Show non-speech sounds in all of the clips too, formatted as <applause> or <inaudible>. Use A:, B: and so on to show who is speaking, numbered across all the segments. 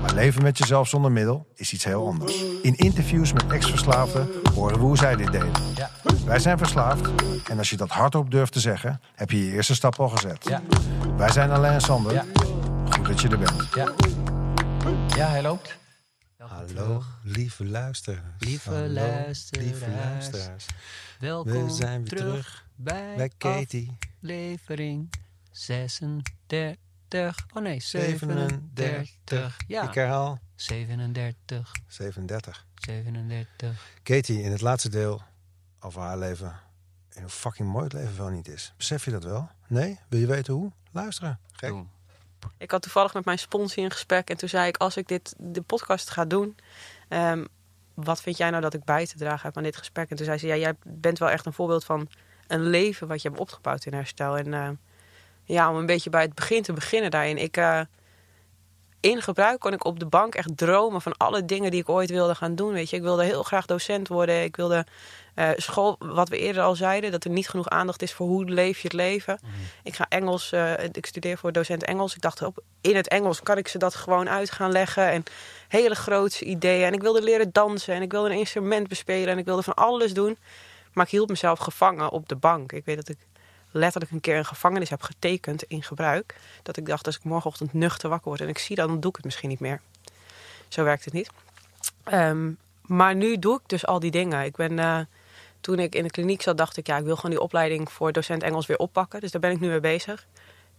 A: maar leven met jezelf zonder middel is iets heel anders. In interviews met ex-verslaafden horen we hoe zij dit deden.
B: Ja.
A: Wij zijn verslaafd en als je dat hardop durft te zeggen, heb je je eerste stap al gezet.
B: Ja.
A: Wij zijn Alain en Sander.
B: Ja.
A: Goed dat je er bent.
B: Ja. Ja, hij loopt.
C: Hallo, lieve luisteraars.
D: Lieve
C: Hallo, Lieve
D: luisteraars.
C: luisteraars.
D: Welkom
C: We zijn weer
D: terug,
C: terug
D: bij,
C: Bij Katie.
D: aflevering 36. Oh nee, 37.
C: 37.
D: Ja,
C: Ik herhaal
D: 37.
C: 37.
D: 37.
C: Katie, in het laatste deel over haar leven. En hoe fucking mooi het leven wel niet is. Besef je dat wel? Nee? Wil je weten hoe? Luisteren. Gek.
D: Doe.
E: Ik had toevallig met mijn sponsor in gesprek en toen zei ik: Als ik dit, de podcast ga doen, ehm, wat vind jij nou dat ik bij te dragen heb aan dit gesprek? En toen zei ze: Ja, jij bent wel echt een voorbeeld van een leven wat je hebt opgebouwd in herstel. En ehm, ja, om een beetje bij het begin te beginnen daarin. Ik, eh, in gebruik kon ik op de bank echt dromen van alle dingen die ik ooit wilde gaan doen. Weet je, ik wilde heel graag docent worden. Ik wilde eh, school, wat we eerder al zeiden, dat er niet genoeg aandacht is voor hoe leef je het leven. Ik ga Engels, eh, ik studeer voor docent Engels. Ik dacht, op, in het Engels kan ik ze dat gewoon uit gaan leggen. En hele grootse ideeën. En ik wilde leren dansen. En ik wilde een instrument bespelen. En ik wilde van alles doen. Maar ik hield mezelf gevangen op de bank. Ik weet dat ik letterlijk een keer een gevangenis heb getekend in gebruik. Dat ik dacht, als ik morgenochtend nuchter wakker word en ik zie dat, dan doe ik het misschien niet meer. Zo werkt het niet. Ehm, maar nu doe ik dus al die dingen. Ik ben, eh, toen ik in de kliniek zat, dacht ik, ja, ik wil gewoon die opleiding voor docent Engels weer oppakken. Dus daar ben ik nu mee bezig.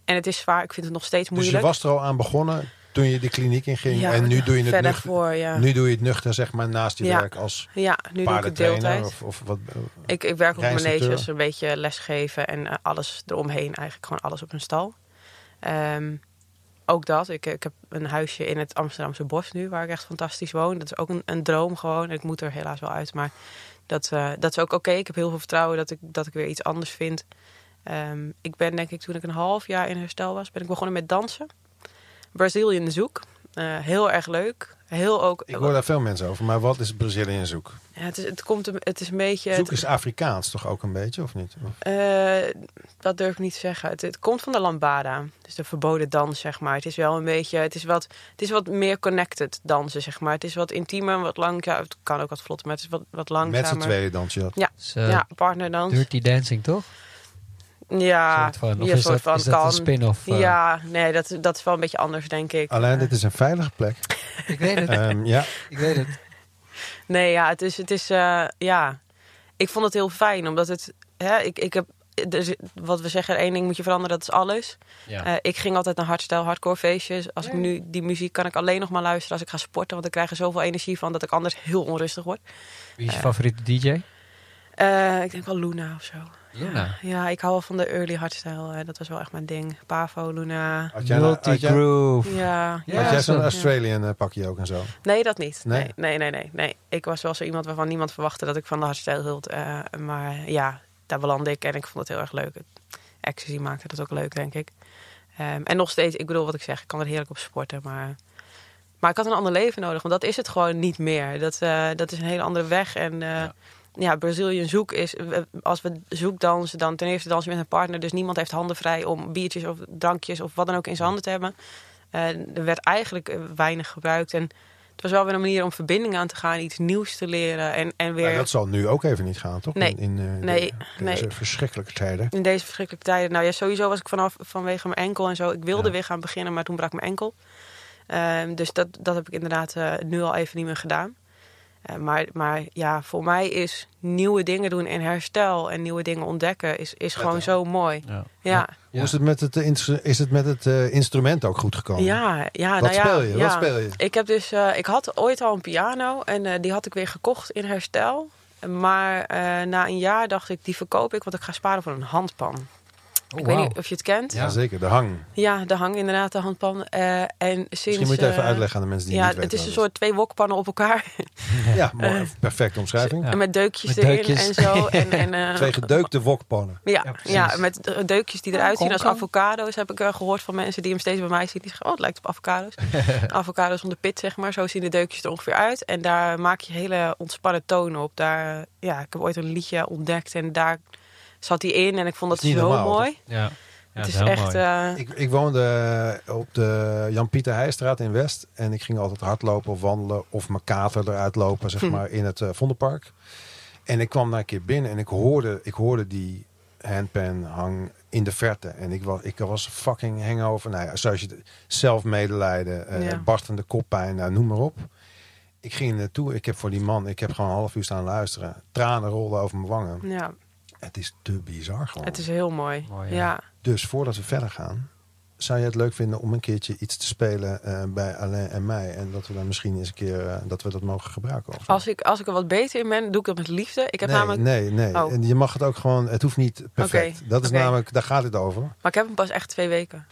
E: En het is zwaar, ik vind het nog steeds
A: Dus
E: moeilijk.
A: je was er al aan begonnen toen je de kliniek inging.
E: Ja,
A: en nu doe je het
E: verder
A: nuchter.
E: voor, ja.
A: Nu doe je het nuchter, zeg maar, naast je
E: Ja.
A: werk als
E: ja, nu doe ik het
A: paardentrainer.
E: deeltijd.
A: Of, of wat,
E: Ik, ik werk op
A: Rijinstructeur.
E: maneges, een beetje lesgeven en eh, alles eromheen. Eigenlijk gewoon alles op een stal. Ehm, ook dat. Ik, ik heb een huisje in het Amsterdamse bos nu, waar ik echt fantastisch woon. Dat is ook een, een droom gewoon. Ik moet er helaas wel uit, maar dat, eh, dat is ook oké. Ik heb heel veel vertrouwen dat ik, dat ik weer iets anders vind. Ehm, ik ben denk ik toen ik een half jaar in herstel was, ben ik begonnen met dansen. Brazilian zoek. Eh, heel erg leuk. Heel ook...
A: ik hoor daar veel mensen over, maar wat is Brazilië zoek?
E: Ja, het, is, het, komt, een- het is een beetje...
A: Zoek
E: het-
A: is Afrikaans toch ook een beetje, of niet? Of-
E: Eh, dat durf ik niet te zeggen. Het, het komt van de lambada. Dus de verboden dans, zeg maar. Het is wel een beetje... Het is wat, het is wat meer connected dansen, zeg maar. Het is wat intiemer, wat langzaam. Het kan ook wat vlot, maar het is wat, wat langzamer.
A: Met z'n tweeën dans je dat.
D: Zo,
E: Ja, partnerdans.
D: Dirty Dancing, toch?
E: Ja,
D: soort van. Of
E: ja,
D: is,
E: soort
D: dat,
E: van
D: is dat een
E: kan.
D: spin-off? eh?
E: Ja, nee, dat, dat is wel een beetje anders, denk ik. Eh,
A: Alleen, dit is een veilige
E: <laughs>
A: plek.
D: Ik weet het,
A: Ehm, ja.
D: ik weet het.
E: Nee, ja, het is, het is eh, ja. Ik vond het heel fijn, omdat het, hè, ik, ik heb, dus wat we zeggen, één ding moet je veranderen, dat is alles.
D: Ja.
E: Eh, ik ging altijd naar hardstyle, hardcore feestjes. Als ik nu die muziek kan ik alleen nog maar luisteren als ik ga sporten, want ik krijg er zoveel energie van dat ik anders heel onrustig word.
D: Wie is je favoriete DJ?
E: Eh, ik denk wel Luna of zo.
D: Luna.
E: Ja, ik hou wel van de early hardstyle. eh, dat was wel echt mijn ding. Pavo, Luna.
A: Had jij, nou- had jij-
D: Multigroove.
E: Ja.
A: had
D: Ja,
A: jij
D: zo.
A: zo'n Australian eh, pakje ook en zo?
E: Nee, dat niet.
A: Nee?
E: Nee. Nee, nee, nee, nee. Ik was wel zo iemand waarvan niemand verwachtte dat ik van de hardstyle hield. eh, maar ja, daar belandde ik en ik vond het heel erg leuk. Het- Ecstasy maakte dat ook leuk, denk ik. Ehm, en nog steeds, ik bedoel wat ik zeg, ik kan er heerlijk op sporten. Maar, maar ik had een ander leven nodig, want dat is het gewoon niet meer. Dat, eh, dat is een hele andere weg. En eh, ja. Brazilian zoek is, we- als we zoek dansen, dan ten eerste dans je met een partner. Dus niemand heeft handen vrij om biertjes of drankjes of wat dan ook in zijn handen te hebben. Eh, er werd eigenlijk eh, weinig gebruikt. En het was wel weer een manier om verbinding aan te gaan, iets nieuws te leren. En, en weer
A: Nou, dat zal nu ook even niet gaan, toch?
E: Nee.
A: In, in, eh,
E: Nee,
A: de- deze
E: nee.
A: verschrikkelijke tijden.
E: in deze verschrikkelijke tijden. Nou ja, sowieso was ik vanaf vanwege mijn enkel en zo. Ik wilde
A: Ja.
E: weer gaan beginnen, maar toen brak mijn enkel. Ehm, dus dat, dat heb ik inderdaad eh, nu al even niet meer gedaan. Eh, maar, maar ja, voor mij is nieuwe dingen doen en herstel en nieuwe dingen ontdekken is, is gewoon zo mooi.
D: Ja.
E: Ja,
A: Hoe is het met het, eh, instru- is het, met het eh, instrument ook goed gekomen?
E: ja,
A: Wat
E: ja. nou ja,
A: speel je?
E: ja.
A: Wat speel je?
E: Ik heb dus, eh, ik had ooit al een piano en eh, die had ik weer gekocht in herstel. Maar eh, na een jaar dacht ik, die verkoop ik, want ik ga sparen voor een handpan. ik weet niet of je het kent. Ja,
D: Ja.
A: Jazeker, de hang.
E: de hang inderdaad, de hangpan. Eh, en sinds,
A: Misschien moet je het even
E: eh,
A: uitleggen aan de mensen die
E: Ja,
A: het niet
E: het
A: weten.
E: is een
A: wat
E: soort eh, twee wokpannen op elkaar. <laughs>
A: het is. Ja, mooi, perfecte omschrijving.
D: Ja.
E: En met deukjes
D: Met
E: erin
D: deukjes.
E: en
D: <laughs>
E: zo. En, en, eh,
A: Twee gedeukte wokpannen.
E: Ja,
D: Ja,
E: ja,
D: precies.
E: met de- eh, deukjes die eruit zien als
D: Kom, kom.
E: avocado's. Heb ik eh, gehoord van mensen die hem steeds bij mij zien. Die zeggen, oh, het lijkt op
D: <laughs>
E: avocado's. avocado's om de pit, zeg maar. Zo zien de deukjes er ongeveer uit. En daar maak je hele ontspannen tonen op. Daar, eh, ja, ik heb ooit een liedje ontdekt en daar zat hij in. En ik vond dat,
A: Dat is niet
E: zo
A: normaal,
E: mooi.
D: Ja. Ja,
E: het is
D: heel
E: echt...
D: mooi.
E: eh,
A: Ik, ik woonde eh, op de Jan-Pieter Heijstraat in West. En ik ging altijd hardlopen of wandelen of mijn kater eruit lopen,
E: Hm.
A: zeg maar, in het eh, Vondelpark. En ik kwam daar een keer binnen en ik hoorde, ik hoorde die handpan hang in de verte. En ik was, ik was fucking hangover. Nou ja, zoals je het- zelfmedelijden, eh
E: Ja.
A: barstende koppijn, nou, noem maar op. Ik ging er naartoe. Ik heb voor die man, ik heb gewoon een half uur staan luisteren. Tranen rolden over mijn wangen.
E: ja,
A: Het is te bizar gewoon.
E: Hm. het is heel mooi.
D: Mooi, ja.
E: ja.
A: Dus voordat we verder gaan, zou je het leuk vinden om een keertje iets te spelen eh, bij Alain en mij? En dat we dan misschien eens een keer eh, dat we dat mogen gebruiken. Of zo?
E: Als, ik, als ik er wat beter in ben, doe ik dat met liefde. Ik heb
A: nee,
E: namelijk,
A: nee, nee.
E: Oh.
A: En je mag het ook gewoon, het hoeft niet perfect.
E: Oké,
A: Dat is
E: oké.
A: namelijk, daar gaat het over.
E: Maar ik heb hem pas echt twee weken.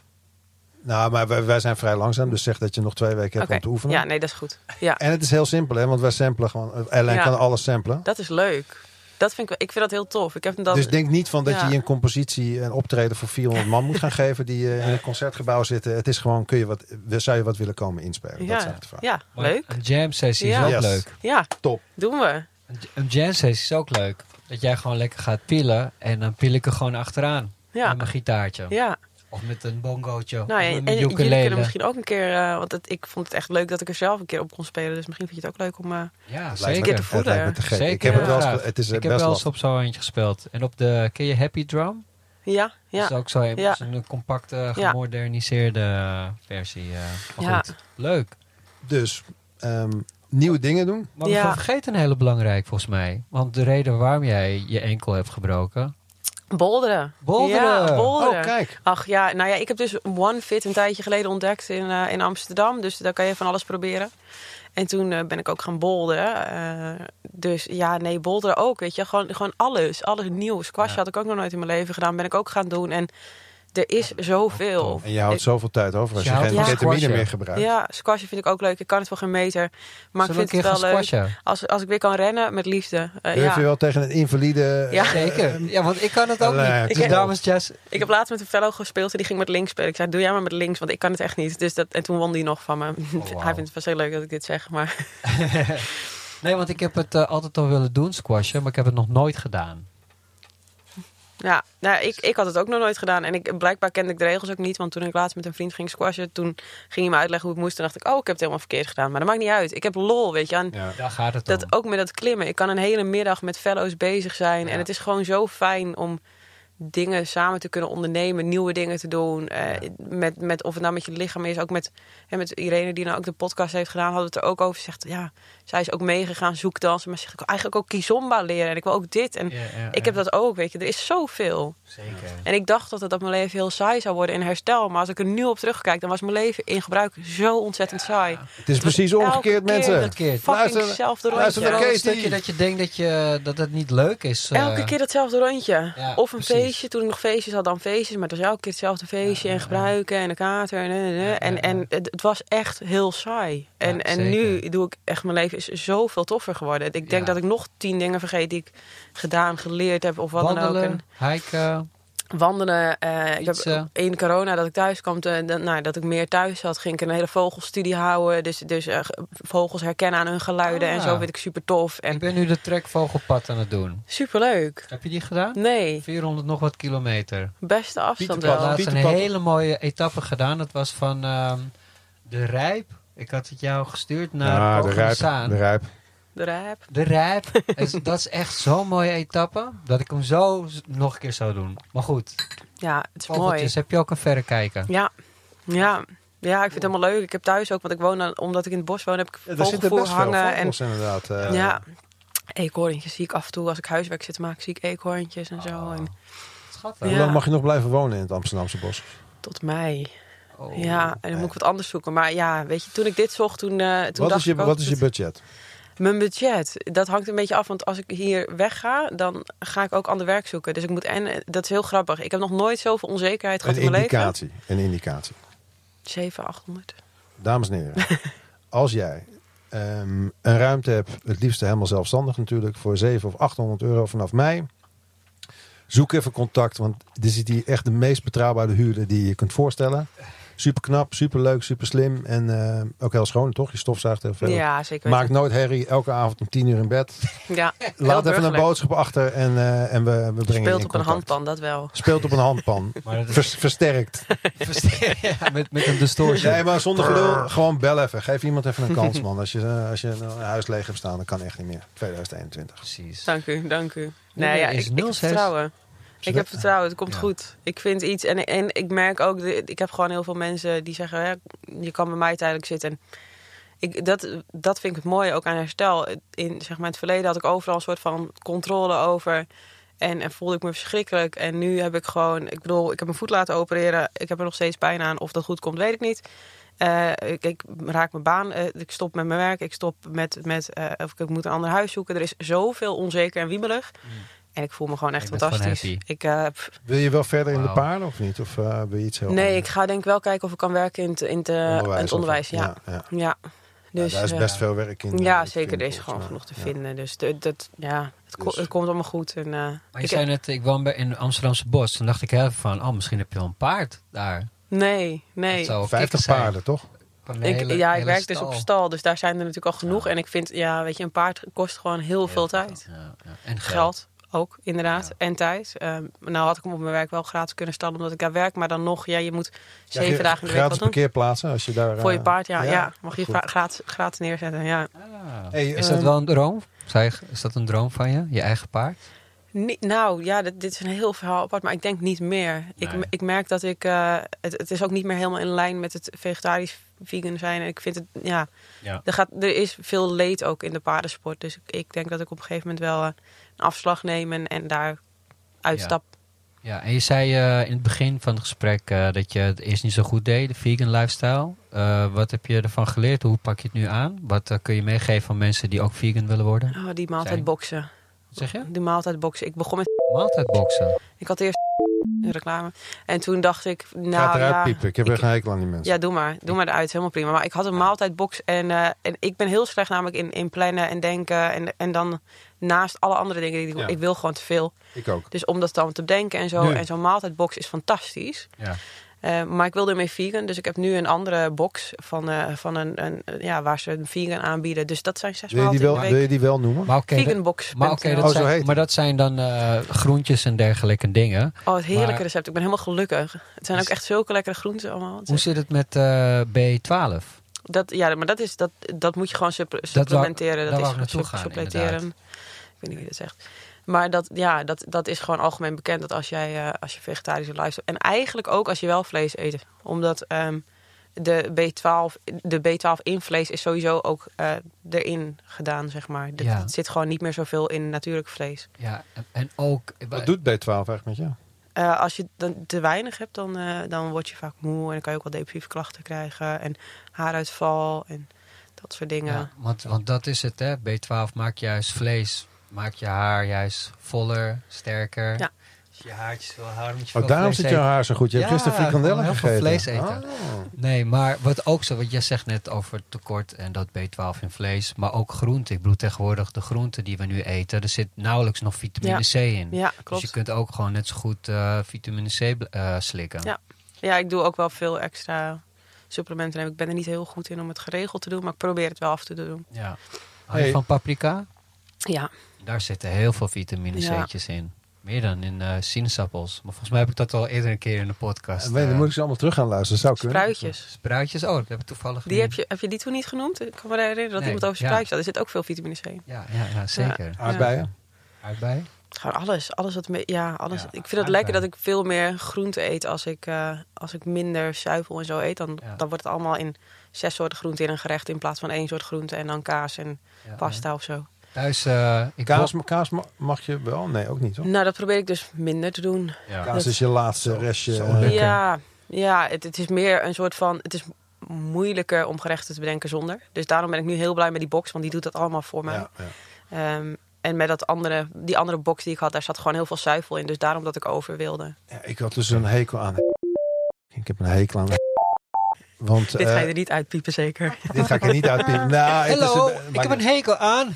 A: Nou, maar wij, wij zijn vrij langzaam, dus zeg dat je nog twee weken hebt
E: Oké.
A: om te oefenen.
E: Ja, nee, dat is goed. Ja.
A: En het is heel simpel, hè, want wij samplen gewoon. Alain
E: Ja.
A: kan alles samplen.
E: Dat is leuk. Dat vind ik, wel- ik vind dat heel tof. Ik heb hem dan
A: Dus denk niet van dat
E: Ja.
A: je een compositie en optreden voor 400 man
E: <laughs>
A: moet gaan geven die eh, in een concertgebouw zitten. Het is gewoon, kun je wat, zou je wat willen komen inspelen? Dat is
E: ja,
A: eigenlijk de vraag.
E: ja,
D: Maar
E: eh, leuk.
D: Een jam sessie
E: Ja.
D: is ook
A: Yes.
D: leuk.
E: Ja,
A: Top.
E: doen we.
D: Een, een jam sessie is ook leuk. Dat jij gewoon lekker gaat pillen en dan pil ik er gewoon achteraan.
E: Ja.
D: Met mijn gitaartje.
E: Ja,
D: Of met een bongootje.
E: nou,
D: of
E: en,
D: met
E: en
D: een
E: jullie kunnen
D: ukulele.
E: misschien ook een keer, eh, want het- ik vond het echt leuk dat ik er zelf een keer op kon spelen. Dus misschien vind je het ook leuk om. eh,
D: Ja,
A: Het lijkt me-
D: zeker.
E: te
A: het lijkt me te gek.
D: Zeker.
A: Ik heb het wel eens,
D: Ja.
A: ge- het is eh,
D: Ik heb
A: best
D: wel
A: wel
D: eens op zo'n eentje gespeeld. En op de, ken je Happy Drum?
E: ja,
D: Dat is
E: ja,
D: ook zo
E: Ja.
D: een compacte, gemoderniseerde versie. eh, maar
E: Ja.
D: goed, leuk.
A: Dus ehm, nieuwe dingen doen.
D: Maar we
E: Ja.
D: gaan vergeten een hele belangrijk volgens mij. Want de reden waarom jij je enkel hebt gebroken.
E: bolderen.
D: Bolderen.
E: Ja, bolderen.
A: Oh, kijk.
E: Ach ja, nou ja, ik heb dus One Fit een tijdje geleden ontdekt in, eh, in Amsterdam. Dus daar kan je van alles proberen. En toen eh, ben ik ook gaan bolderen. Eh, dus ja, nee, bolderen ook. Weet je, gewoon, gewoon alles. Alles nieuw. Squash
D: Ja.
E: had ik ook nog nooit in mijn leven gedaan. Ben ik ook gaan doen. En er is zoveel.
D: tof.
A: En je houdt
E: Ik-
A: zoveel tijd over als
D: Je
A: je,
D: houdt
A: geen
E: van
A: ketamine
D: squashen.
A: meer gebruikt.
E: Ja, squashen vind ik ook leuk. Ik kan het wel geen meter. Maar
D: Zullen
E: ik
D: we een
E: vind
D: keer
E: het wel
D: gaan
E: leuk.
D: squashen?
E: Als, als ik weer kan rennen met liefde. Eh,
A: Durf
E: ja.
A: je wel tegen een invalide...
D: <laughs>
E: Ja.
D: Zeker. Ja, want ik kan het ook
A: Allee,
D: niet.
A: het
D: Dus
E: is-
D: dames, Jess.
E: Ik heb laatst met een fellow gespeeld en die ging met links spelen. Ik zei, doe jij maar met links, want ik kan het echt niet. Dus dat, en toen won die nog van me.
D: wauw.
E: <laughs> Hij vindt het wel heel leuk dat ik dit zeg, maar... <laughs>
D: Nee, want ik heb het eh, altijd al willen doen, squashen. Maar ik heb het nog nooit gedaan.
E: Ja, nou, ik, ik had het ook nog nooit gedaan. En ik, blijkbaar kende ik de regels ook niet. Want toen ik laatst met een vriend ging squashen, toen ging hij me uitleggen hoe het moest. En dacht ik, oh, ik heb het helemaal verkeerd gedaan. Maar dat maakt niet uit. Ik heb lol, weet je. En
A: Ja.
D: Daar gaat het om.
E: dat ook met dat klimmen. Ik kan een hele middag met fellows bezig zijn.
D: Ja.
E: En het is gewoon zo fijn om dingen samen te kunnen ondernemen, nieuwe dingen te doen. Eh, met, met, of het nou met je lichaam is, ook met, hè, met Irene die nou ook de podcast heeft gedaan, hadden we het er ook over. Ze Zegt, ja, zij is ook meegegaan, zoekdansen. Maar ze zegt, ik wil eigenlijk ook kizomba leren en ik wil ook dit. En
D: Ja, ja,
E: ik
D: ja.
E: heb dat ook, weet je. Er is zoveel.
D: Zeker.
E: En ik dacht dat het op mijn leven heel saai zou worden in herstel. Maar als ik er nu op terugkijk, dan was mijn leven in gebruik zo ontzettend saai.
A: Het is precies
E: elke
A: omgekeer,
E: keer
A: mensen.
E: dat
D: Omgekeerd.
E: Fucking
A: Luister-
E: hetzelfde
A: luister naar
E: rondje.
D: Vooral
A: Kees
D: een stukje
A: die-
D: dat je denkt dat, je, dat het niet leuk is. eh.
E: Elke keer datzelfde rondje.
D: Ja,
E: of een
D: precies.
E: feestje. Toen ik nog feestjes had, dan feestjes. Maar het was elke keer hetzelfde feestje. en gebruiken en een kater. En, en, en, en,
D: ja.
E: en het, het was echt heel saai. En,
D: Ja,
E: en
D: zeker.
E: nu doe ik echt... Mijn leven is zoveel toffer geworden. Ik denk
D: Ja.
E: dat ik nog tien dingen vergeet die ik gedaan, geleerd heb. Of wat dan ook.
D: Wandelen,
E: En
D: hiken.
E: wandelen. eh ik heb
D: Fietsen.
E: in corona dat ik thuis kwam. Te, dat, nou, dat ik meer thuis zat. Ging ik een hele vogelstudie houden. Dus, dus eh, vogels herkennen aan hun geluiden. En
D: Ah.
E: zo vind ik super tof.
D: Ik
E: En
D: ben nu de trekvogelpad aan het doen.
E: superleuk.
D: Heb je die gedaan?
E: Nee,
D: 400 nog wat kilometer.
E: beste afstand
D: Ik had
A: Pieterpad.
E: wel.
D: laatst een
A: Pieterpad.
D: hele mooie etappe gedaan. Dat was van ehm, de Rijp. Ik had het jou gestuurd
E: Nou,
D: naar
A: Ja,
D: ja,
A: de rijp. De rijp.
E: De rijp.
D: De Rijp. Is- dat is echt zo'n mooie etappe. Dat ik hem zo z- nog een keer zou doen. Maar goed,
E: Ja, het is mooi.
D: vogeltjes heb je ook een verrekijker.
E: Ja. ja, ja, ik vind het helemaal leuk. Ik heb thuis ook, want ik woon dan, omdat ik in het bos woon, heb ik
A: Ja, daar zitten
E: vogelvoer
A: best veel
E: hangen. En,
A: vogels inderdaad. eh.
E: ja, eekhoorntjes zie ik af en toe. Als ik huiswerk zit te maken, zie ik eekhoorntjes en zo. En
D: Schattig.
A: Oh. Hoe
E: Ja.
A: lang mag je nog blijven wonen in het Amsterdamse bos?
E: tot mei.
D: Oh.
E: Ja, en dan moet ik wat anders zoeken. Maar ja, weet je, toen ik dit zocht, toen, eh toen
A: Wat
E: dacht
A: is, je,
E: ik ook
A: wat is je
E: dat-
A: budget?
E: Mijn budget, dat hangt een beetje af. Want als ik hier wegga, dan ga ik ook ander werk zoeken. Dus ik moet en dat is heel grappig. Ik heb nog nooit zoveel onzekerheid gehad
A: Een
E: in mijn leven.
A: indicatie, een indicatie.
E: 700, 800.
A: Dames en
E: <laughs>
A: heren, als jij ehm, een ruimte hebt, het liefst helemaal zelfstandig natuurlijk, voor 700 of 800 euro vanaf mij. Zoek even contact, want dit is hier echt de meest betrouwbare huurder die je kunt voorstellen. Super knap, super leuk, super slim en eh, ook heel schoon, toch? Je stofzuigt heel veel.
E: Ja, zeker.
A: Maakt nooit herrie, elke avond om 10 uur in bed.
E: ja, heel
A: Laat even een
E: burgerlijk.
A: boodschap achter en, eh, en we, we brengen je
E: Speelt
A: in
E: op een
A: contact.
E: handpan, dat wel.
A: Speelt op een
E: <laughs>
A: handpan.
D: Maar dat is-
A: Vers- versterkt.
D: Ja, met, met een distortion.
A: Nee, maar zonder gelul, gewoon bel even. Geef iemand even een kans, man. Als je, eh, als je een huis leeg hebt staan, dan kan echt niet meer. 2021.
D: Precies.
E: Dank u, dank u.
D: Nummer
E: Nee, ja,
D: is
E: ik, ik heb
D: 06.
E: vertrouwen. Ik heb vertrouwen, het komt
A: Ja.
E: goed. Ik vind iets en, en ik merk ook, de- ik heb gewoon heel veel mensen die zeggen, hè, je kan bij mij tijdelijk zitten. En Ik, dat, dat vind ik het mooie ook aan herstel. In, zeg maar, het verleden had ik overal een soort van controle over en, en voelde ik me verschrikkelijk. En nu heb ik gewoon, ik bedoel, ik heb mijn voet laten opereren, ik heb er nog steeds pijn aan. Of dat goed komt, weet ik niet. Eh, ik, ik raak mijn baan, eh, ik stop met mijn werk, ik stop met, met eh, of ik, moet een ander huis zoeken. Er is zoveel onzeker en wiebelig.
A: Mm.
E: En ik voel me gewoon echt
D: Je bent
E: fantastisch.
D: gewoon happy.
E: ik, eh, pff,
A: Wil je wel verder in de
D: Wauw.
A: paarden of niet? Of eh wil je iets heel
E: nee, ik
A: anders?
E: ga denk ik wel kijken of ik kan werken in het, in het, eh, in het
A: of-
E: onderwijs. Ja.
A: ja, ja.
E: Ja.
A: Nou,
E: Dus,
A: daar is
E: eh,
A: best veel werk in. eh,
E: ja,
A: ik
E: zeker.
A: vind,
E: Er is
A: volgens
E: gewoon
A: mij.
E: genoeg te
A: Ja.
E: vinden. Dus dat, dat, ja, het, ko-
A: Dus-
E: het komt allemaal goed. En, eh,
D: Maar je
E: ik-
D: zei net, ik woon bij, in Amsterdamse bos. Toen dacht ik heel even van, oh, misschien heb je wel een paard daar.
E: Nee,
D: Dat
E: nee.
D: zou wel kicken
A: 50
D: zijn.
A: paarden, toch?
D: Van een
E: Ik,
D: hele-
E: ja, ik
D: hele
E: werk dus op stal, dus daar zijn er natuurlijk al genoeg.
D: Ja.
E: En ik vind, ja, weet je, een paard kost gewoon heel, veel tijd.
D: Ja, ja. En geld.
E: Geld ook, inderdaad.
D: Ja.
E: En tijd. Ehm, nou had ik hem op mijn werk wel gratis kunnen stallen, omdat ik daar werk. Maar dan nog, ja, je moet
A: Ja,
E: zeven
A: je-
E: dagen in de week
A: Gratis
E: wat doen.
A: parkeerplaatsen als je daar...
E: Voor je
A: eh,
E: paard, ja.
A: ja,
E: ja, mag je
A: goed.
E: va- gratis, gratis neerzetten, ja.
D: Ah.
A: Hey,
D: is
A: ehm,
D: dat wel een droom? Zou je- is dat een droom van je? Je eigen paard?
E: Nee, nou ja, dit, dit is een heel verhaal apart, maar ik denk niet meer. Ik,
D: Nee.
E: ik merk dat ik. eh, het, het is ook niet meer helemaal in lijn met het vegetarisch vegan zijn. En ik vind het. Ja,
D: Ja.
E: er, gaat, er is veel leed ook in de paardensport. Dus ik, ik denk dat ik op een gegeven moment wel eh, een afslag neem en, en daar uitstap.
D: Ja, en je zei eh, in het begin van het gesprek eh, dat je het eerst niet zo goed deed, de vegan lifestyle. Eh, wat heb je ervan geleerd? Hoe pak je het nu aan? Wat eh, kun je meegeven aan mensen die ook vegan willen worden?
E: Oh, die maaltijd
D: Zijn.
E: boksen.
D: Wat zeg je?
E: Die maaltijd boksen. Ik begon met.
D: Maaltijdboxen.
E: Ik had eerst <laughs> een reclame. En toen dacht ik. Nou,
A: Gaat eruit
E: ja,
A: piepen. Ik heb
E: ik-
A: echt een hekel aan die mensen.
E: Ja, doe maar. Doe maar eruit. Helemaal prima. Maar ik had een maaltijdbox en, eh, en ik ben heel slecht namelijk in, in plannen en denken. En, en dan naast alle andere dingen, die ik, doe,
A: Ja.
E: ik wil gewoon te veel.
A: Ik ook.
E: Dus om dat dan te bedenken en zo.
A: Nu.
E: En zo'n maaltijdbox is fantastisch.
D: Ja.
E: Eh, maar ik wilde ermee vegan, dus ik heb nu een andere box van, eh, van een, een, ja, waar ze een vegan aanbieden. Dus dat zijn zes
A: Wil je die
E: maaltijden
A: wel, wil
E: in de
A: je
E: week.
A: die wel noemen?
D: Maar oké, dat-
E: Veganbox.
D: maar, oké,
A: Oh,
D: dat,
A: zo heet
D: zijn,
A: het.
D: maar dat zijn dan eh, groentjes en dergelijke dingen.
E: Oh, het heerlijke
D: maar- Dus-
E: recept. Ik ben helemaal gelukkig. Het zijn ook echt zulke lekkere groenten allemaal.
D: Hoe zit het met eh, B12?
E: Dat, ja, maar dat, is, dat, dat moet je gewoon supple- supplementeren.
D: daar
E: Dat,
D: wou
E: is
D: ik naartoe
E: sup-
D: gaan,
E: suppleteren.
D: inderdaad.
E: Ik weet niet wie dat zegt. Maar dat, ja, dat, dat is gewoon algemeen bekend dat als, jij, eh, als je vegetarische lifestyle... En eigenlijk ook als je wel vlees eet. Omdat ehm, de, B12, de B12 in vlees is sowieso ook eh, erin gedaan, zeg maar. Er
D: Ja.
E: zit gewoon niet meer zoveel in natuurlijk vlees.
D: Ja, en, en ook... eh,
A: Wat doet B12 eigenlijk met jou?
E: Eh, als je dan te weinig hebt, dan, eh, dan word je vaak moe. En dan kan je ook wel depressieve klachten krijgen. En haaruitval en dat soort dingen.
D: Ja, want, want dat is het, hè. B12 maakt juist vlees, maakt je haar juist voller, sterker.
E: Ja.
D: Als je haartjes wil houden, moet je
A: Oh,
D: veel
A: daarom
D: vlees
A: zit jouw
D: eten.
A: haar zo goed. Je hebt
D: Ja,
A: gisteren frikandellen
D: gewoon heel
A: gegeten.
D: veel vlees
A: Oh.
D: Nee, maar wat ook zo, want jij zegt net over het tekort en dat B12 in vlees, maar ook groente. Ik bedoel, tegenwoordig de groenten die we nu eten, er zit nauwelijks nog vitamine C in.
E: Ja,
D: Dus
E: klopt.
D: je kunt ook gewoon net zo goed eh, vitamine C bl- eh, slikken.
E: Ja. Ja, ik doe ook wel veel extra supplementen. nemen. Ik ben er niet heel goed in om het geregeld te doen, maar ik probeer het wel af en toe te doen.
D: Ja. Hou je
A: Hey.
D: van paprika?
E: Ja,
D: Daar zitten heel veel vitamine
E: Ja.
D: C'tjes in. Meer dan in eh, sinaasappels. Maar volgens mij heb ik dat al eerder een keer in de podcast.
A: En weet je,
D: eh,
A: dan moet ik ze allemaal terug gaan luisteren. Zou kunnen.
E: spruitjes.
D: Spruitjes, oh, dat heb ik toevallig
E: Die heb, je, heb je die toen niet genoemd? Ik kan me herinneren dat
D: Nee,
E: iemand over
D: ja.
E: spruitjes had. Er zit ook veel vitamine C. in.
D: Ja, ja, ja zeker.
A: Aardbeien.
D: Aardbei?
E: Gewoon alles. alles, wat me, ja, alles.
D: Ja,
E: ik vind het
D: aardbeien.
E: lekker dat ik veel meer groente eet als ik, eh, als ik minder zuivel en zo eet. Dan,
D: Ja.
E: dan wordt het allemaal in zes soorten groente in een gerecht in plaats van één soort groente en dan kaas en
D: Ja,
E: pasta of zo.
D: ja. Thuis, eh, ik
A: Kaas,
D: wil-
A: ma- kaas ma- mag je wel? Nee, ook niet hoor.
E: Nou, dat probeer ik dus minder te doen.
D: Ja.
A: Kaas is je laatste restje.
D: zo
A: eh,
D: lekker.
E: Ja, ja het, het is meer een soort van. Het is moeilijker om gerechten te bedenken zonder. Dus daarom ben ik nu heel blij met die box, want die doet dat allemaal voor mij.
A: Ja, ja.
E: Ehm, en met dat andere, die andere box die ik had, daar zat gewoon heel veel zuivel in. Dus daarom dat ik over wilde.
A: Ja, ik had dus een hekel aan. Ik heb een hekel aan. Want
E: Dit ga je
A: eh,
E: er niet uitpiepen, zeker.
A: dit ga ik er niet uitpiepen. Nou, het is
D: Hallo,
A: een-
D: ik
A: maakt
D: heb
A: niet
D: een hekel aan.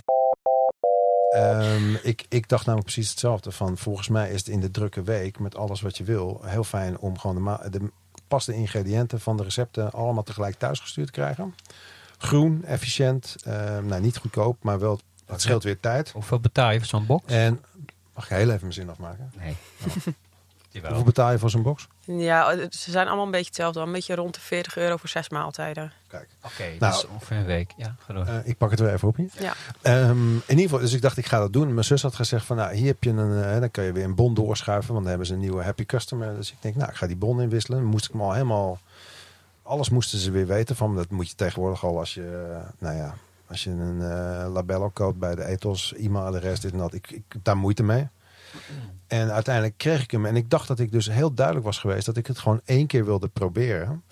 A: Ehm, ik, ik dacht namelijk precies hetzelfde. Van, volgens mij is het in de drukke week met alles wat je wil heel fijn om gewoon de, ma- de paste ingrediënten van de recepten allemaal tegelijk thuisgestuurd te krijgen. Groen, efficiënt, ehm, nou niet goedkoop, maar wel het scheelt weer tijd.
D: Hoeveel betaal je voor zo'n box?
A: En mag ik heel even mijn zin afmaken?
E: <laughs>
D: Nee.
A: Hoeveel betaal je voor zo'n box?
E: Ja, eh, ze zijn allemaal een beetje hetzelfde. Een beetje rond de 40 euro voor zes maaltijden.
A: Kijk,
D: Oké, dus
A: Nou.
D: ongeveer een week. Ja, ga door.
A: eh, ik pak het weer even op hier.
E: Ja.
A: Ehm, in ieder geval, dus ik dacht, ik ga dat doen. Mijn zus had gezegd van, nou, hier heb je een, eh, dan kan je weer een bon doorschuiven, want dan hebben ze een nieuwe happy customer. Dus ik denk, nou, ik ga die bon inwisselen. Dan moest ik me al helemaal, alles moesten ze weer weten van, dat moet je tegenwoordig al als je, eh, nou ja, als je een eh, labello koopt bij de ethos, e-mailadres, dit en dat. Ik, ik heb daar moeite mee. En uiteindelijk kreeg ik hem. En ik dacht dat ik dus heel duidelijk was geweest dat ik het gewoon één keer wilde proberen.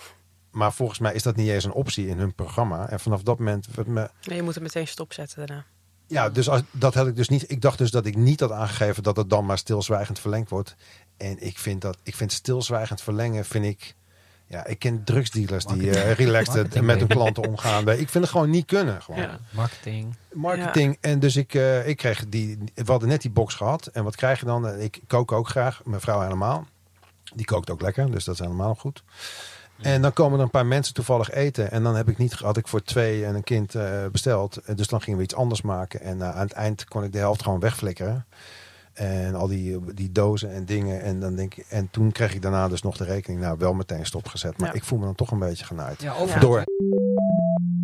A: Maar volgens mij is dat niet eens een optie in hun programma. En vanaf dat moment werd me
E: Nee, je moet hem meteen stopzetten daarna.
A: ja, dus als, dat had ik dus niet. Ik dacht dus dat ik niet had aangegeven dat het dan maar stilzwijgend verlengd wordt. En ik vind dat, ik vind stilzwijgend verlengen, vind ik. Ja, ik ken drugsdealers die eh relaxed
D: Marketing.
A: met hun klanten omgaan. Ik vind het gewoon niet kunnen. Gewoon.
E: Ja.
D: Marketing.
A: Marketing. En dus ik, eh, ik kreeg die. We hadden net die box gehad. En wat krijg je dan? Eh, Ik kook ook graag. Mijn vrouw helemaal. Die kookt ook lekker. Dus dat is helemaal goed. En dan komen er een paar mensen toevallig eten. En dan heb ik niet, had ik voor twee en een kind eh, besteld. Eh, Dus dan gingen we iets anders maken. En eh, aan het eind kon ik de helft gewoon wegflikkeren. En al die, eh, die dozen en dingen. En, dan denk ik, en toen kreeg ik daarna dus nog de rekening. Nou, wel meteen stopgezet. Maar
E: Ja.
A: ik voel me dan toch een beetje genaaid.
D: Ja, over,
E: Ja.
A: Door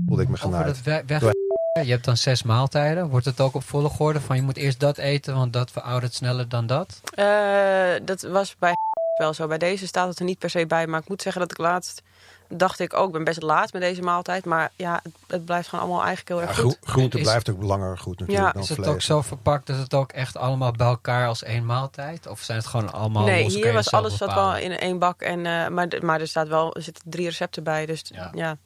A: voelde ik me
D: over
A: genaaid.
D: dat we- weg.
A: Door-
D: Je hebt dan zes maaltijden. Wordt het ook op volle volgorde van je moet eerst dat eten, want dat veroudert sneller dan dat?
E: Eh, dat was bij <laughs> wel zo. Bij deze staat het er niet per se bij. Maar ik moet zeggen dat ik laatst dacht ik ook, ik ben best laat met deze maaltijd. Maar ja, het, het blijft gewoon allemaal eigenlijk heel
A: Ja,
E: erg
A: groe-
E: goed.
A: groente
D: Is-
A: blijft ook langer goed natuurlijk
E: Ja.
A: dan
D: Is het
A: vlees.
D: ook zo verpakt dat het ook echt allemaal bij elkaar als één maaltijd? Of zijn het gewoon allemaal
E: nee,
D: los,
E: hier
D: kan je
E: was
D: zelf
E: alles zat
D: bepalen?
E: wel in één bak. En, eh, maar, d- maar er, staat wel, er zitten drie recepten bij. Dus t-
D: Ja.
E: ja.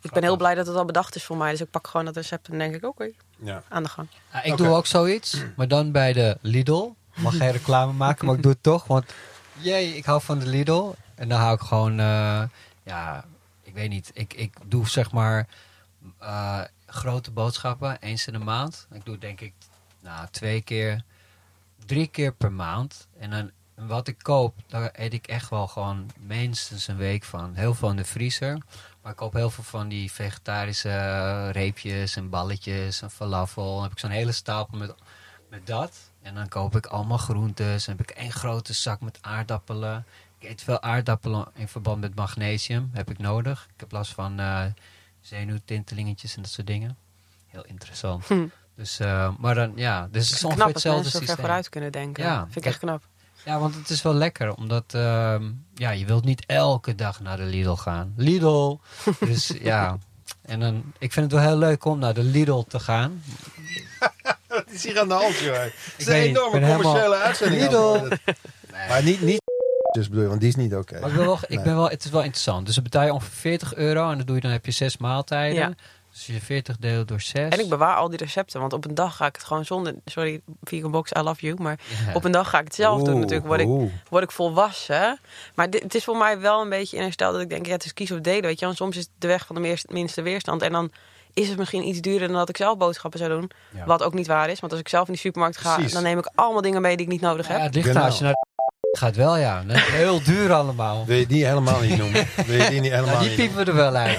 E: ik ben heel blij dat het al bedacht is voor mij. Dus ik pak gewoon dat recept en denk ik, oké,
A: Ja.
E: aan de gang.
D: Ja, Ah, ik
A: Oké.
D: doe ook
A: <clears throat>
D: zoiets, maar dan bij de Lidl. Mag geen reclame maken, maar ik doe het toch. Want jee, ik hou van de Lidl. En dan hou ik gewoon, eh, ja, ik weet niet. Ik, ik doe zeg maar eh, grote boodschappen eens in de maand. Ik doe denk ik nou, twee keer, drie keer per maand. En dan wat ik koop, daar eet ik echt wel gewoon minstens een week van. Heel veel in de vriezer. Maar ik koop heel veel van die vegetarische eh, reepjes en balletjes en falafel. Dan heb ik zo'n hele stapel met, met dat. En dan koop ik allemaal groentes. Dan heb ik één grote zak met aardappelen. Ik eet veel aardappelen in verband met magnesium. Heb ik nodig. Ik heb last van eh zenuwtintelingetjes en dat soort dingen. Heel interessant.
E: Hm.
D: Dus, eh, maar dan, ja, dus het is ongeveer
E: knap dat
D: hetzelfde
E: mensen zo ver
D: systeem.
E: vooruit kunnen denken.
D: Ja.
E: Vind ik echt knap.
D: Ja, want het is wel lekker, omdat ehm, ja, je wilt niet elke dag naar de Lidl gaan.
E: <laughs>
D: Lidl! Dus ja, en dan, ik vind het wel heel leuk om naar de Lidl te gaan.
A: Het is hier aan de hand, joh. Het
D: Ik
A: is
D: weet niet, ik ben helemaal-
A: uitzending.
D: Lidl.
A: aan het worden. Maar niet, niet <laughs> dus bedoel je, want die is niet oké.
D: Maar ik wil wel, ik
A: Nee.
D: ben wel, het is wel interessant. Dus dan betaal je ongeveer 40 euro en dan, doe je, dan heb je zes maaltijden.
E: Ja.
D: Dus je 40 deelt door 6.
E: En ik bewaar al die recepten, want op een dag ga ik het gewoon zonder... Sorry, vegan box, I love you. Maar
D: Ja.
E: op een dag ga ik het zelf doen
A: Oeh,
E: natuurlijk. Word ik,
A: oeh.
E: word ik volwassen. Maar dit, het is voor mij wel een beetje in herstel dat ik denk... Ja, het is kies of delen, weet je. Want soms is het de weg van de meest- minste weerstand. En dan is het misschien iets duurder dan dat ik zelf boodschappen zou doen.
D: Ja.
E: Wat ook niet waar is. Want als ik zelf in de supermarkt ga,
A: Precies.
E: dan neem ik allemaal dingen mee die ik niet nodig
D: ja,
E: heb.
D: het ligt eraan, als je naar de gaat wel, ja. Dat is heel duur allemaal.
A: Wil je die helemaal niet noemen? Wil je die niet helemaal
D: Nou, die
A: niet
D: piepen
A: noemen?
D: we er wel uit.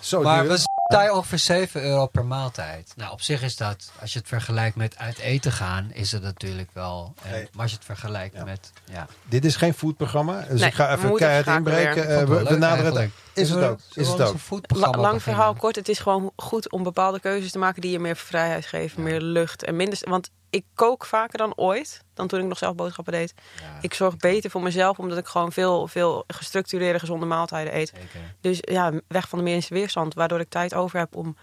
A: Zo
D: maar
A: Oh, duur.
D: we betalen ongeveer 7 euro per maaltijd. Nou, op zich is dat, als je het vergelijkt met uit eten gaan, is het natuurlijk wel. En,
A: Nee.
D: Maar als je het vergelijkt
A: Ja. Eh,
D: met. Ja,
A: Dit is geen foodprogramma, dus
E: Nee,
A: ik ga
E: we
A: even
E: moeten
A: keihard
E: schakelen
A: inbreken.
D: Vond
A: Eh,
D: ik
A: we,
D: wel
A: we
D: leuk
A: naderen het.
D: eigenlijk.
A: Is het
D: Zullen we-
A: ook?
D: zullen
A: Is
D: we
A: het
D: ons
A: ook?
D: een
E: La-
D: foodprogramma
E: lang
D: beginnen?
E: verhaal kort. Het is gewoon goed om bepaalde keuzes te maken die je meer vrijheid geven,
D: Ja.
E: meer lucht en minder. Want ik kook vaker dan ooit, dan toen ik nog zelf boodschappen deed.
D: Ja,
E: Ik zorg beter voor mezelf, omdat ik gewoon veel, veel gestructureerde, gezonde maaltijden eet.
D: zeker.
E: Dus ja, weg van de minste weerstand, waardoor ik tijd over heb om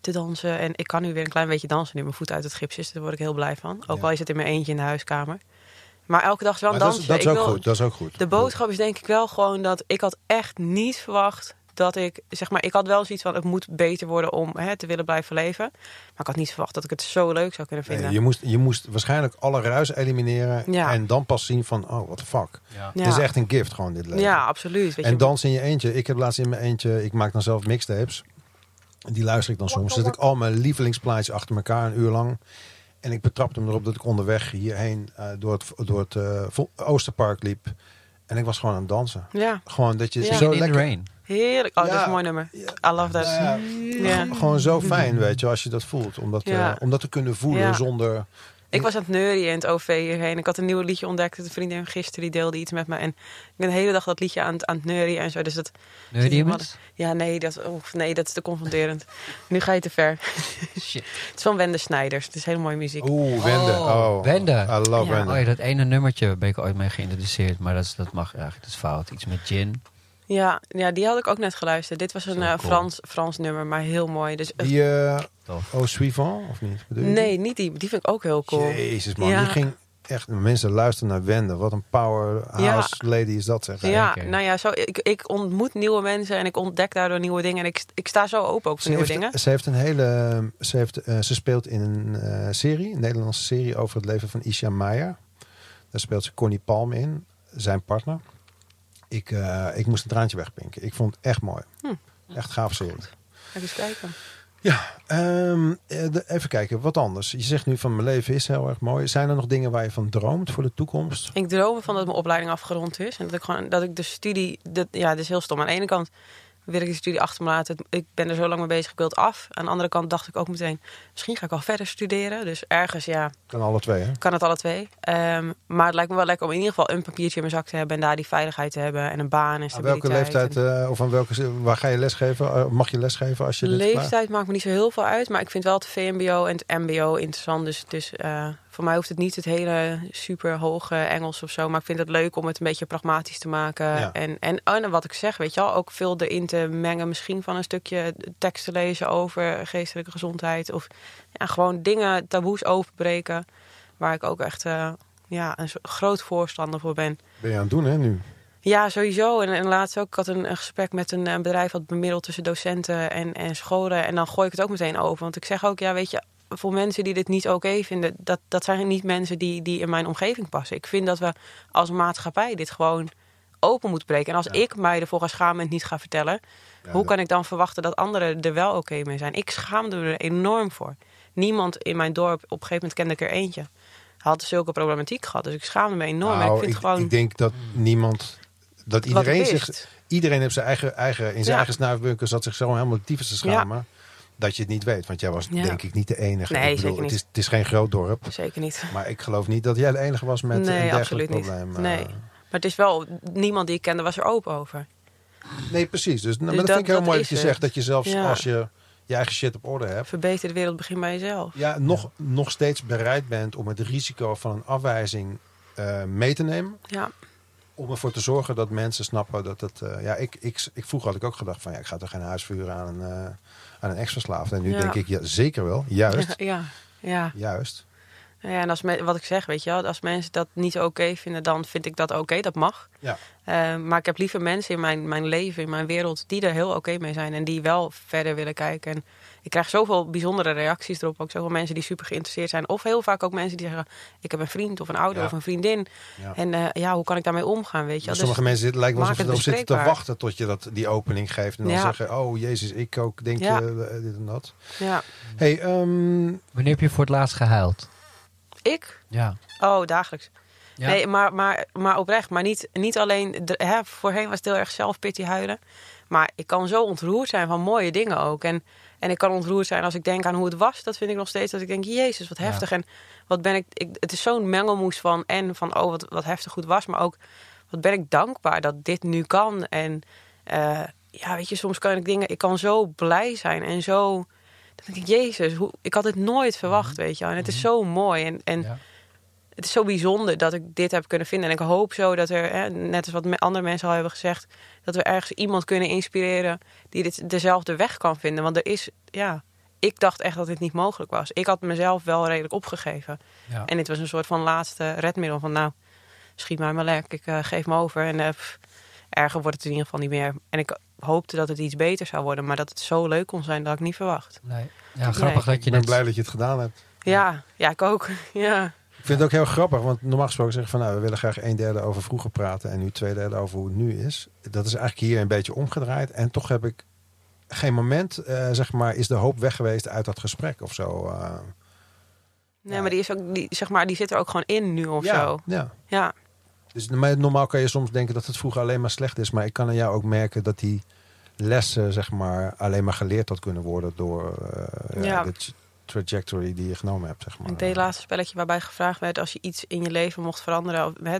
E: te dansen. En ik kan nu weer een klein beetje dansen nu mijn voet uit het gips is. Daar word ik heel blij van. Ook
A: Ja.
E: al is het in mijn eentje in de huiskamer. Maar elke dag is wel
A: Maar
E: een
A: dat,
E: dansje.
A: is, dat is
E: Ik
A: ook
E: wil-
A: goed, dat is ook goed.
E: de boodschap is denk ik wel gewoon dat ik had echt niet verwacht dat ik, zeg maar, ik had wel zoiets van: het moet beter worden om hè, te willen blijven leven. Maar ik had niet verwacht dat ik het zo leuk zou kunnen vinden.
A: Nee, je, moest, je moest waarschijnlijk alle ruis elimineren.
E: Ja.
A: En dan pas zien van, oh, what the fuck.
D: Ja.
E: ja.
A: Dit is echt een gift gewoon, dit leven.
E: ja, absoluut. Weet
A: en
E: je,
A: dansen in je eentje. Ik heb laatst in mijn eentje, ik maak dan zelf mixtapes. Die luister ik dan soms. Zet ik al mijn lievelingsplaatjes achter elkaar een uur lang. En ik betrapte me erop dat ik onderweg hierheen eh, door het, door het eh, Vo- Oosterpark liep. En ik was gewoon aan het dansen.
E: Ja,
A: Gewoon dat je
E: Ja.
A: zo
D: in the
A: lekker...
D: rain.
E: heerlijk. Oh, dat is
A: Ja.
E: een mooi nummer.
A: Ja.
E: I love that.
A: Nou
E: Ja,
A: ja, g- Gewoon zo fijn, weet je, als je dat voelt. Om dat,
E: Ja.
A: eh, om dat te kunnen voelen
E: Ja.
A: zonder...
E: Ik was aan het neurien in het OV hierheen. Ik had een nieuw liedje ontdekt. Een vriendin van gisteren die deelde iets met me. En ik ben de hele dag dat liedje aan het, aan het neurien en zo. Dus dat,
D: Nee, die
E: Wat- Ja, nee dat, oef, nee, dat is te confronterend. Nu ga je te ver.
D: Shit.
E: Het is van Wende Snijders. Het is hele mooie muziek.
A: Oeh, Wende.
D: Oh,
A: Oh,
D: Wende.
A: I love
E: Ja.
A: Wende.
D: Oh ja, dat ene nummertje ben ik ooit mee geïntroduceerd. Maar dat, is, dat mag eigenlijk, dat is fout. Iets met gin.
E: Ja, ja, die had ik ook net geluisterd. Dit was een
D: Zo
E: eh,
D: cool.
E: Frans, Frans nummer, maar heel mooi. Dus, eh,
A: Die, eh
D: Tof.
A: oh, Suivant, of niet? Bedoel je die?
E: nee, niet die. Die vind ik ook heel cool.
A: Jezus man,
E: Ja.
A: die ging echt... Mensen luisteren naar Wende. Wat een powerhouse lady is dat, zeg.
E: Ja,
D: Zeker.
E: nou ja, zo, ik, ik ontmoet nieuwe mensen en ik ontdek daardoor nieuwe dingen. En ik, st- ik sta zo open ook voor
A: Ze
E: nieuwe
A: heeft,
E: dingen.
A: ze heeft een hele. Ze, heeft, eh, ze speelt in een eh, serie, een Nederlandse serie over het leven van Isha Meijer. Daar speelt ze Connie Palm in, zijn partner. Ik, eh, ik moest een traantje wegpinken. Ik vond het echt mooi.
E: Hm.
A: Echt gaaf serie.
E: Ga ik eens kijken.
A: Ja, ehm, eh, de- even kijken, wat anders. Je zegt nu van mijn leven is heel erg mooi. Zijn er nog dingen waar je van droomt voor de toekomst?
E: Ik droom ervan dat mijn opleiding afgerond is. En dat ik, gewoon, dat ik de studie... Dat, ja, dat is heel stom. Aan de ene kant wil ik de studie achter me laten. Ik ben er zo lang mee bezig, ik wil het af. Aan de andere kant dacht ik ook meteen... misschien ga ik al verder studeren. Dus ergens, ja,
A: Kan alle twee, hè?
E: kan het alle twee. Ehm, maar het lijkt me wel lekker om in ieder geval een papiertje in mijn zak te hebben... en daar die veiligheid te hebben en een baan en
A: Aan
E: stabiliteit.
A: welke leeftijd
E: en-
A: eh, of aan welke, waar ga je lesgeven? Eh, mag je lesgeven als je dit klaar-
E: Leeftijd maakt me niet zo heel veel uit, maar ik vind wel het VMBO en het MBO interessant. Dus, dus eh, voor mij hoeft het niet het hele super hoge Engels of zo. Maar ik vind het leuk om het een beetje pragmatisch te maken.
A: Ja.
E: En, en, oh, en wat ik zeg, weet je wel, ook veel erin te mengen. Misschien van een stukje tekst te lezen over geestelijke gezondheid. Of ja, gewoon dingen, taboes openbreken. Waar ik ook echt eh, ja, een zo- groot voorstander voor ben.
A: Ben je aan het doen, hè, nu?
E: Ja, sowieso. En, en laatst ook, ik had een, een gesprek met een, eh, bedrijf dat bemiddelt tussen docenten en, en scholen. En dan gooi ik het ook meteen over. Want ik zeg ook, ja, weet je, voor mensen die dit niet oké vinden, dat, dat zijn niet mensen die, die in mijn omgeving passen. Ik vind dat we als maatschappij dit gewoon open moeten breken. En als ik mij ervoor ga schamen en het niet ga vertellen, hoe
A: dat-
E: kan ik dan verwachten dat anderen er wel oké mee zijn? Ik schaamde me er enorm voor. Niemand in mijn dorp, op een gegeven moment kende ik er eentje, had zulke problematiek gehad. Dus ik schaamde me enorm. en ik
A: Nou,
E: vind
A: ik,
E: gewoon...
A: ik denk dat niemand. Dat
E: Wat
A: iedereen
E: het
A: zich.
E: is.
A: Iedereen heeft zijn eigen, eigen, in zijn
E: Ja.
A: eigen snuifbunker zat zich zo helemaal tyfus te schamen. Dat je het niet weet. Want jij was
E: Ja.
A: denk ik niet de enige.
E: Nee,
A: ik
E: zeker niet.
A: Het, is, het is geen groot dorp.
E: Zeker niet.
A: Maar ik geloof niet dat jij de enige was met een
E: nee,
A: dergelijk
E: absoluut niet.
A: probleem. eh.
E: Nee. Maar het is wel, niemand die ik kende was er open over.
A: nee, precies. Dus, nou, maar
E: Dus
A: dat, vind ik
E: dat-
A: heel mooi dat
E: dat
A: je
E: is
A: zegt
E: het.
A: dat je zelfs
E: Ja.
A: als je je eigen shit op orde hebt.
E: Verbeter de wereld, begin bij jezelf.
A: Ja, nog, nog steeds bereid bent om het risico van een afwijzing eh, mee te nemen.
E: Ja,
A: om ervoor te zorgen dat mensen snappen dat het... eh, ja, ik, ik, ik, vroeger had ik ook gedacht van... Ja, ik ga toch geen huis verhuren aan een, eh, aan een ex-verslaafde. En nu
E: Ja.
A: denk ik, ja, zeker wel. Juist.
E: <laughs> ja, ja.
A: Juist.
E: Ja, En als me- wat ik zeg, weet je wel, als mensen dat niet oké vinden, dan vind ik dat oké, dat mag.
A: Ja.
E: Eh, maar ik heb liever mensen in mijn, mijn leven, in mijn wereld, die er heel oké mee zijn en die wel verder willen kijken. En ik krijg zoveel bijzondere reacties erop. Ook zoveel mensen die super geïnteresseerd zijn. Of heel vaak ook mensen die zeggen: Ik heb een vriend of een ouder
A: Ja.
E: of een vriendin.
A: Ja.
E: En eh, ja, hoe kan ik daarmee omgaan? Weet je wel?
A: Maar sommige
E: Dus-
A: mensen zitten, lijkt wel
E: maak
A: alsof ze
E: het
A: erop zitten te
E: bespreekbaar.
A: wachten... tot je dat, die opening geeft. En dan
E: Ja.
A: zeggen, oh jezus, ik ook, denk
E: Ja.
A: je, eh, dit en dat.
E: ja.
A: hey, ehm,
D: Wanneer heb je voor het laatst gehuild?
E: Ik
D: Ja.
E: Oh, dagelijks.
D: Ja.
E: Nee, maar, maar, maar oprecht. Maar niet, niet alleen... de- hè, voorheen was het heel erg zelfpity huilen. Maar ik kan zo ontroerd zijn van mooie dingen ook. En, en ik kan ontroerd zijn als ik denk aan hoe het was. Dat vind ik nog steeds. Dat ik denk, jezus, wat
D: Ja.
E: heftig. En wat ben ik, ik... Het is zo'n mengelmoes van... En van, oh, wat, wat heftig goed was. Maar ook, wat ben ik dankbaar dat dit nu kan. En eh, ja, weet je, soms kan ik dingen... Ik kan zo blij zijn en zo... Dan denk ik, jezus, hoe, ik had het nooit verwacht,
D: Mhm.
E: weet je wel. En het is zo mooi. En, en
D: Ja.
E: het is zo bijzonder dat ik dit heb kunnen vinden. En ik hoop zo dat er, hè, net als wat me- andere mensen al hebben gezegd, dat we ergens iemand kunnen inspireren die dit dezelfde weg kan vinden. Want er is, ja, ik dacht echt dat dit niet mogelijk was. Ik had mezelf wel redelijk opgegeven.
D: Ja.
E: En dit was een soort van laatste redmiddel van, nou, schiet mij maar lek, ik eh, geef me over. En eh, pff, erger wordt het in ieder geval niet meer. En ik hoopte dat het iets beter zou worden, maar dat het zo leuk kon zijn, dat had ik niet verwacht.
D: Nee. Ja, grappig dat
A: Ik
D: je
A: ben
D: net...
A: blij dat je het gedaan hebt.
E: Ja, ja, ik ook. <laughs> ja.
A: Ik vind het ook heel grappig, want normaal gesproken zeggen we van nou, we willen graag een derde over vroeger praten en nu twee derde over hoe het nu is. Dat is eigenlijk hier een beetje omgedraaid. En toch heb ik geen moment, eh, zeg maar, is de hoop weg geweest uit dat gesprek of zo. eh.
E: Nee,
A: Ja.
E: maar die, is ook, die, zeg maar die zit er ook gewoon in nu of
A: ja,
E: zo.
A: ja.
E: Ja.
A: Dus maar normaal kan je soms denken dat het vroeger alleen maar slecht is. Maar ik kan aan jou ook merken dat die lessen zeg maar, alleen maar geleerd had kunnen worden door eh, ja,
E: Ja.
A: de t- trajectory die je genomen hebt. Zeg maar.
E: Ik deed het laatste spelletje waarbij gevraagd werd als je iets in je leven mocht veranderen. Of, hè,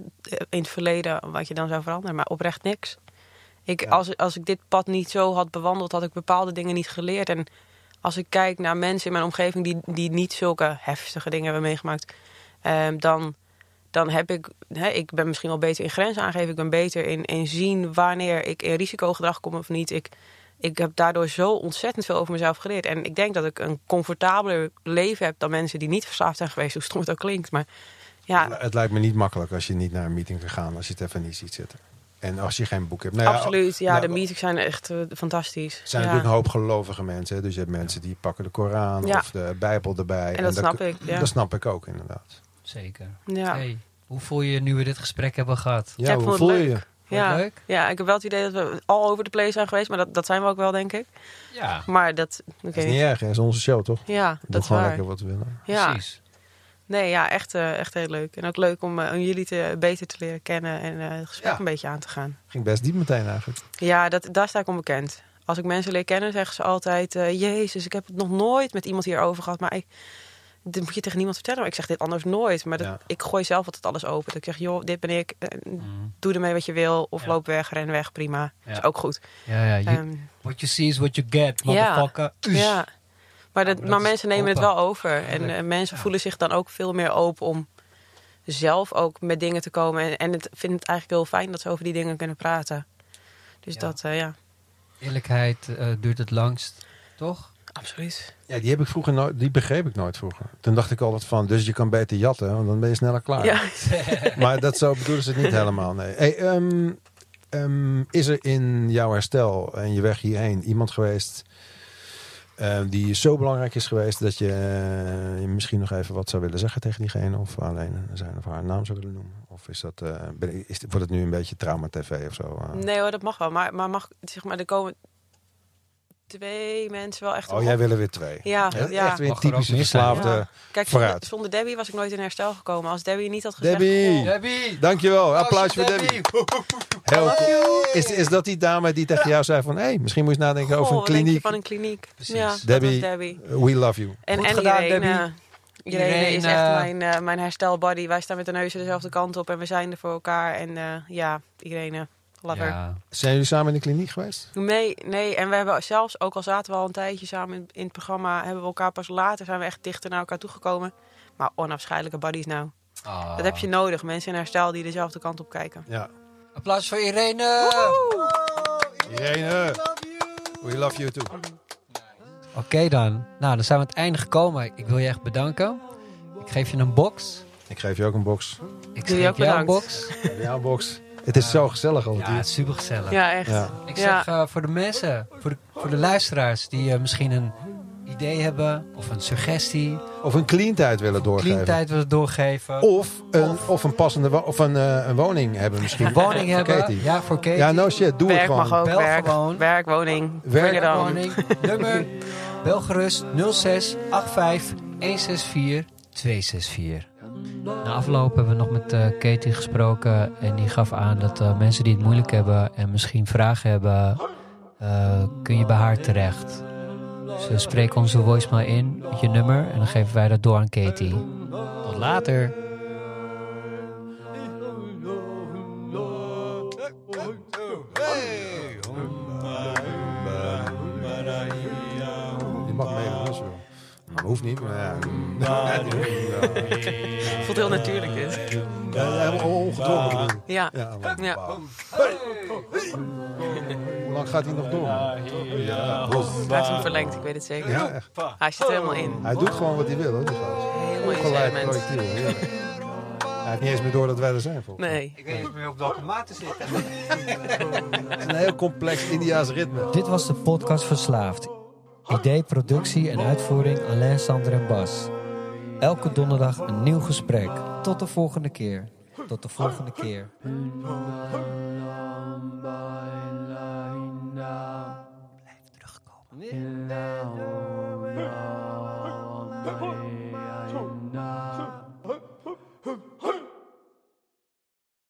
E: in het verleden, wat je dan zou veranderen. Maar oprecht niks. Ik,
A: Ja.
E: als, als ik dit pad niet zo had bewandeld, had ik bepaalde dingen niet geleerd. En als ik kijk naar mensen in mijn omgeving die, die niet zulke heftige dingen hebben meegemaakt. ehm, dan, dan heb ik, hè, ik ben misschien wel beter in grenzen aangeven. Ik ben beter in, in zien wanneer ik in risicogedrag kom of niet. Ik, ik heb daardoor zo ontzettend veel over mezelf geleerd. En ik denk dat ik een comfortabeler leven heb dan mensen die niet verslaafd zijn geweest. Hoe stom het ook klinkt. Maar ja,
A: Het lijkt me niet makkelijk als je niet naar een meeting kan gaan als je het even niet ziet zitten. En als je geen boek hebt. Nou ja,
E: absoluut. Ja,
A: nou,
E: de meetings zijn echt eh, fantastisch.
A: Er zijn
E: ja.
A: natuurlijk een hoop gelovige mensen. hè. Dus je hebt mensen die pakken de Koran
E: Ja.
A: of de Bijbel erbij.
E: En dat
A: dan-
E: snap ik, ja.
A: Dat snap ik ook inderdaad.
D: Zeker.
E: Ja.
D: Hey, hoe voel je je nu we dit gesprek hebben gehad?
A: Ja,
E: Ja, ik
A: hoe
E: vond het
A: voel je
E: leuk.
A: je?
D: Vond je het
E: Ja.
D: leuk?
E: ja, ik heb wel het idee dat we al over de place zijn geweest. Maar dat, dat zijn we ook wel, denk ik.
D: Ja,
E: Maar dat, ik
A: Dat is
E: weet
A: niet
E: niet.
A: erg, hè. dat is onze show toch?
E: Ja,
A: Doe
E: dat is
A: gewoon
E: waar.
A: lekker wat we willen.
E: Ja,
D: precies.
E: nee, ja echt, eh, echt heel leuk. En ook leuk om, eh, om jullie te, beter te leren kennen en eh, het gesprek
A: Ja.
E: een beetje aan te gaan.
A: Ging best diep meteen eigenlijk.
E: Ja, dat, daar sta ik onbekend. Als ik mensen leer kennen, zeggen ze altijd... eh, Jezus, ik heb het nog nooit met iemand hierover gehad. Maar ik, dit moet je tegen niemand vertellen. Maar ik zeg dit anders nooit. Maar dat,
A: Ja.
E: ik gooi zelf altijd alles open. Dat ik zeg, joh, dit ben ik. eh,
D: Mhm.
E: Doe ermee wat je wil. Of
D: Ja.
E: loop weg, ren weg, prima.
D: Ja.
E: Dat is ook goed.
D: Ja, ja. you-
E: Ehm,
D: what you see is what you get,
E: Ja.
D: motherfucker.
E: ja. Maar, dat,
D: Nou, maar dat
E: maar
D: is
E: mensen nemen het
D: open.
E: wel over. En
D: Tuurlijk.
E: eh, mensen
D: Ja.
E: voelen zich dan ook veel meer open om zelf ook met dingen te komen. En, en het, vinden het eigenlijk heel fijn dat ze over die dingen kunnen praten. Dus
D: Ja.
E: dat, eh, ja,
D: Eerlijkheid eh, duurt het langst, toch?
E: absoluut.
A: Ja, die heb ik vroeger nooit, die begreep ik nooit vroeger. Toen dacht ik altijd van, dus je kan beter jatten, want dan ben je sneller klaar.
E: Ja.
A: Maar dat zo bedoelen ze het niet helemaal, nee. Hey, ehm, ehm, is er in jouw herstel en je weg hierheen iemand geweest ehm, die zo belangrijk is geweest dat je, eh, je misschien nog even wat zou willen zeggen tegen diegene? Of alleen zijn of haar naam zou willen noemen? Of is dat, eh, ben- is, wordt het nu een beetje trauma tv of zo? eh?
E: Nee hoor, dat mag wel. Maar, maar mag, zeg maar, er komen twee mensen wel echt
A: Oh,
E: op.
A: jij wil er weer twee.
E: Ja,
A: Echt
E: ja.
A: weer een
D: Mag er ook
A: typische
D: meer zijn.
A: verslaafde.
E: Ja. Kijk,
A: vooruit.
E: zonder, zonder Debbie was ik nooit in herstel gekomen. Als Debbie niet had gezegd... oh,
A: Debbie!
E: goh,
C: Nou,
D: Debbie!
A: Dankjewel, applausje voor Debbie. Heel
D: Hallo.
A: cool. is, is dat die dame die tegen jou zei van... hé, hey, misschien moet je eens nadenken
E: goh,
A: over een
E: oh, wat denk je
A: kliniek.
E: van een kliniek.
D: Precies.
E: Ja, dat was
A: Debbie,
E: Debbie.
A: We love you.
E: En,
D: Goed
E: en
D: gedaan,
E: Irene,
D: Debbie.
E: Irene is
D: Irene,
E: echt
D: eh,
E: mijn, eh, mijn herstelbody. Wij staan met de neuzen dezelfde kant op en we zijn er voor elkaar. En eh, ja, Irene, love her.
D: Ja.
A: Zijn jullie samen in de kliniek geweest?
E: Nee, nee, en we hebben zelfs, ook al zaten we al een tijdje samen in, in het programma, hebben we elkaar pas later zijn we echt dichter naar elkaar toegekomen. Maar onafscheidelijke buddies nou.
D: Ah.
E: Dat heb je nodig. Mensen in herstel die dezelfde kant op kijken.
A: Ja.
D: Applaus voor Irene!
A: Irene, we love you too.
D: Oké dan. Nou, dan zijn we aan het einde gekomen. Ik wil je echt bedanken. Ik geef je een box.
A: Ik geef je ook een box.
D: Ik
E: Doe je
D: geef
E: ook
D: jou een
E: bedankt.
D: box.
A: Ja, een box. Het is zo gezellig al.
D: Ja, supergezellig.
E: Ja, echt.
A: Ja.
D: Ik
E: Ja.
D: zeg eh, voor de mensen, voor de, voor de luisteraars die eh, misschien een idee hebben of een suggestie,
A: Of een clean tijd willen
D: clean
A: doorgeven.
D: tijd willen doorgeven,
A: Of een, of een passende wo- of een, eh, een woning <laughs> hebben misschien.
D: een woning
A: Voor
D: hebben.
A: Katie.
D: Ja, voor Katie.
A: Ja, no shit, doe
E: werk
A: het gewoon.
E: mag ook.
D: Bel
E: werk,
D: gewoon.
E: werk, woning.
A: Werk,
E: Bring it on.
D: woning, nummer, bel gerust 06 85 164 264. Na afloop hebben we nog met eh, Katie gesproken en die gaf aan dat eh, mensen die het moeilijk hebben en misschien vragen hebben, eh, kun je bij haar terecht. Dus eh, spreek onze voicemail in met je nummer en dan geven wij dat door aan Katie. Tot later!
A: Je mag meedoen als je wil. Maar hoeft niet. Maar ja.
E: Voelt heel natuurlijk dit.
A: Ja, helemaal ongedwongen.
E: Ja.
A: Ja, maar-
E: Ja.
A: wauw. Hoe lang gaat hij nog door? Ja,
E: Het raakt hem verlengd, ik weet het zeker.
A: ja echt.
E: Hij zit er helemaal in.
A: Hij doet gewoon wat hij wil. Hoor, die gast.
E: Helemaal in zijn
A: Ongeleid
E: element.
A: projectiel. heerlijk. Hij heeft niet eens meer door dat wij er zijn. volgens mij.
E: Nee.
D: Ik weet niet meer op welke maat te zitten.
A: Het is een heel complex Indiaas ritme.
D: Dit was de podcast Verslaafd. Idee, productie en uitvoering Alain, Sander en Bas. Elke donderdag een nieuw gesprek. Tot de volgende keer. Tot de volgende keer. Blijf terugkomen.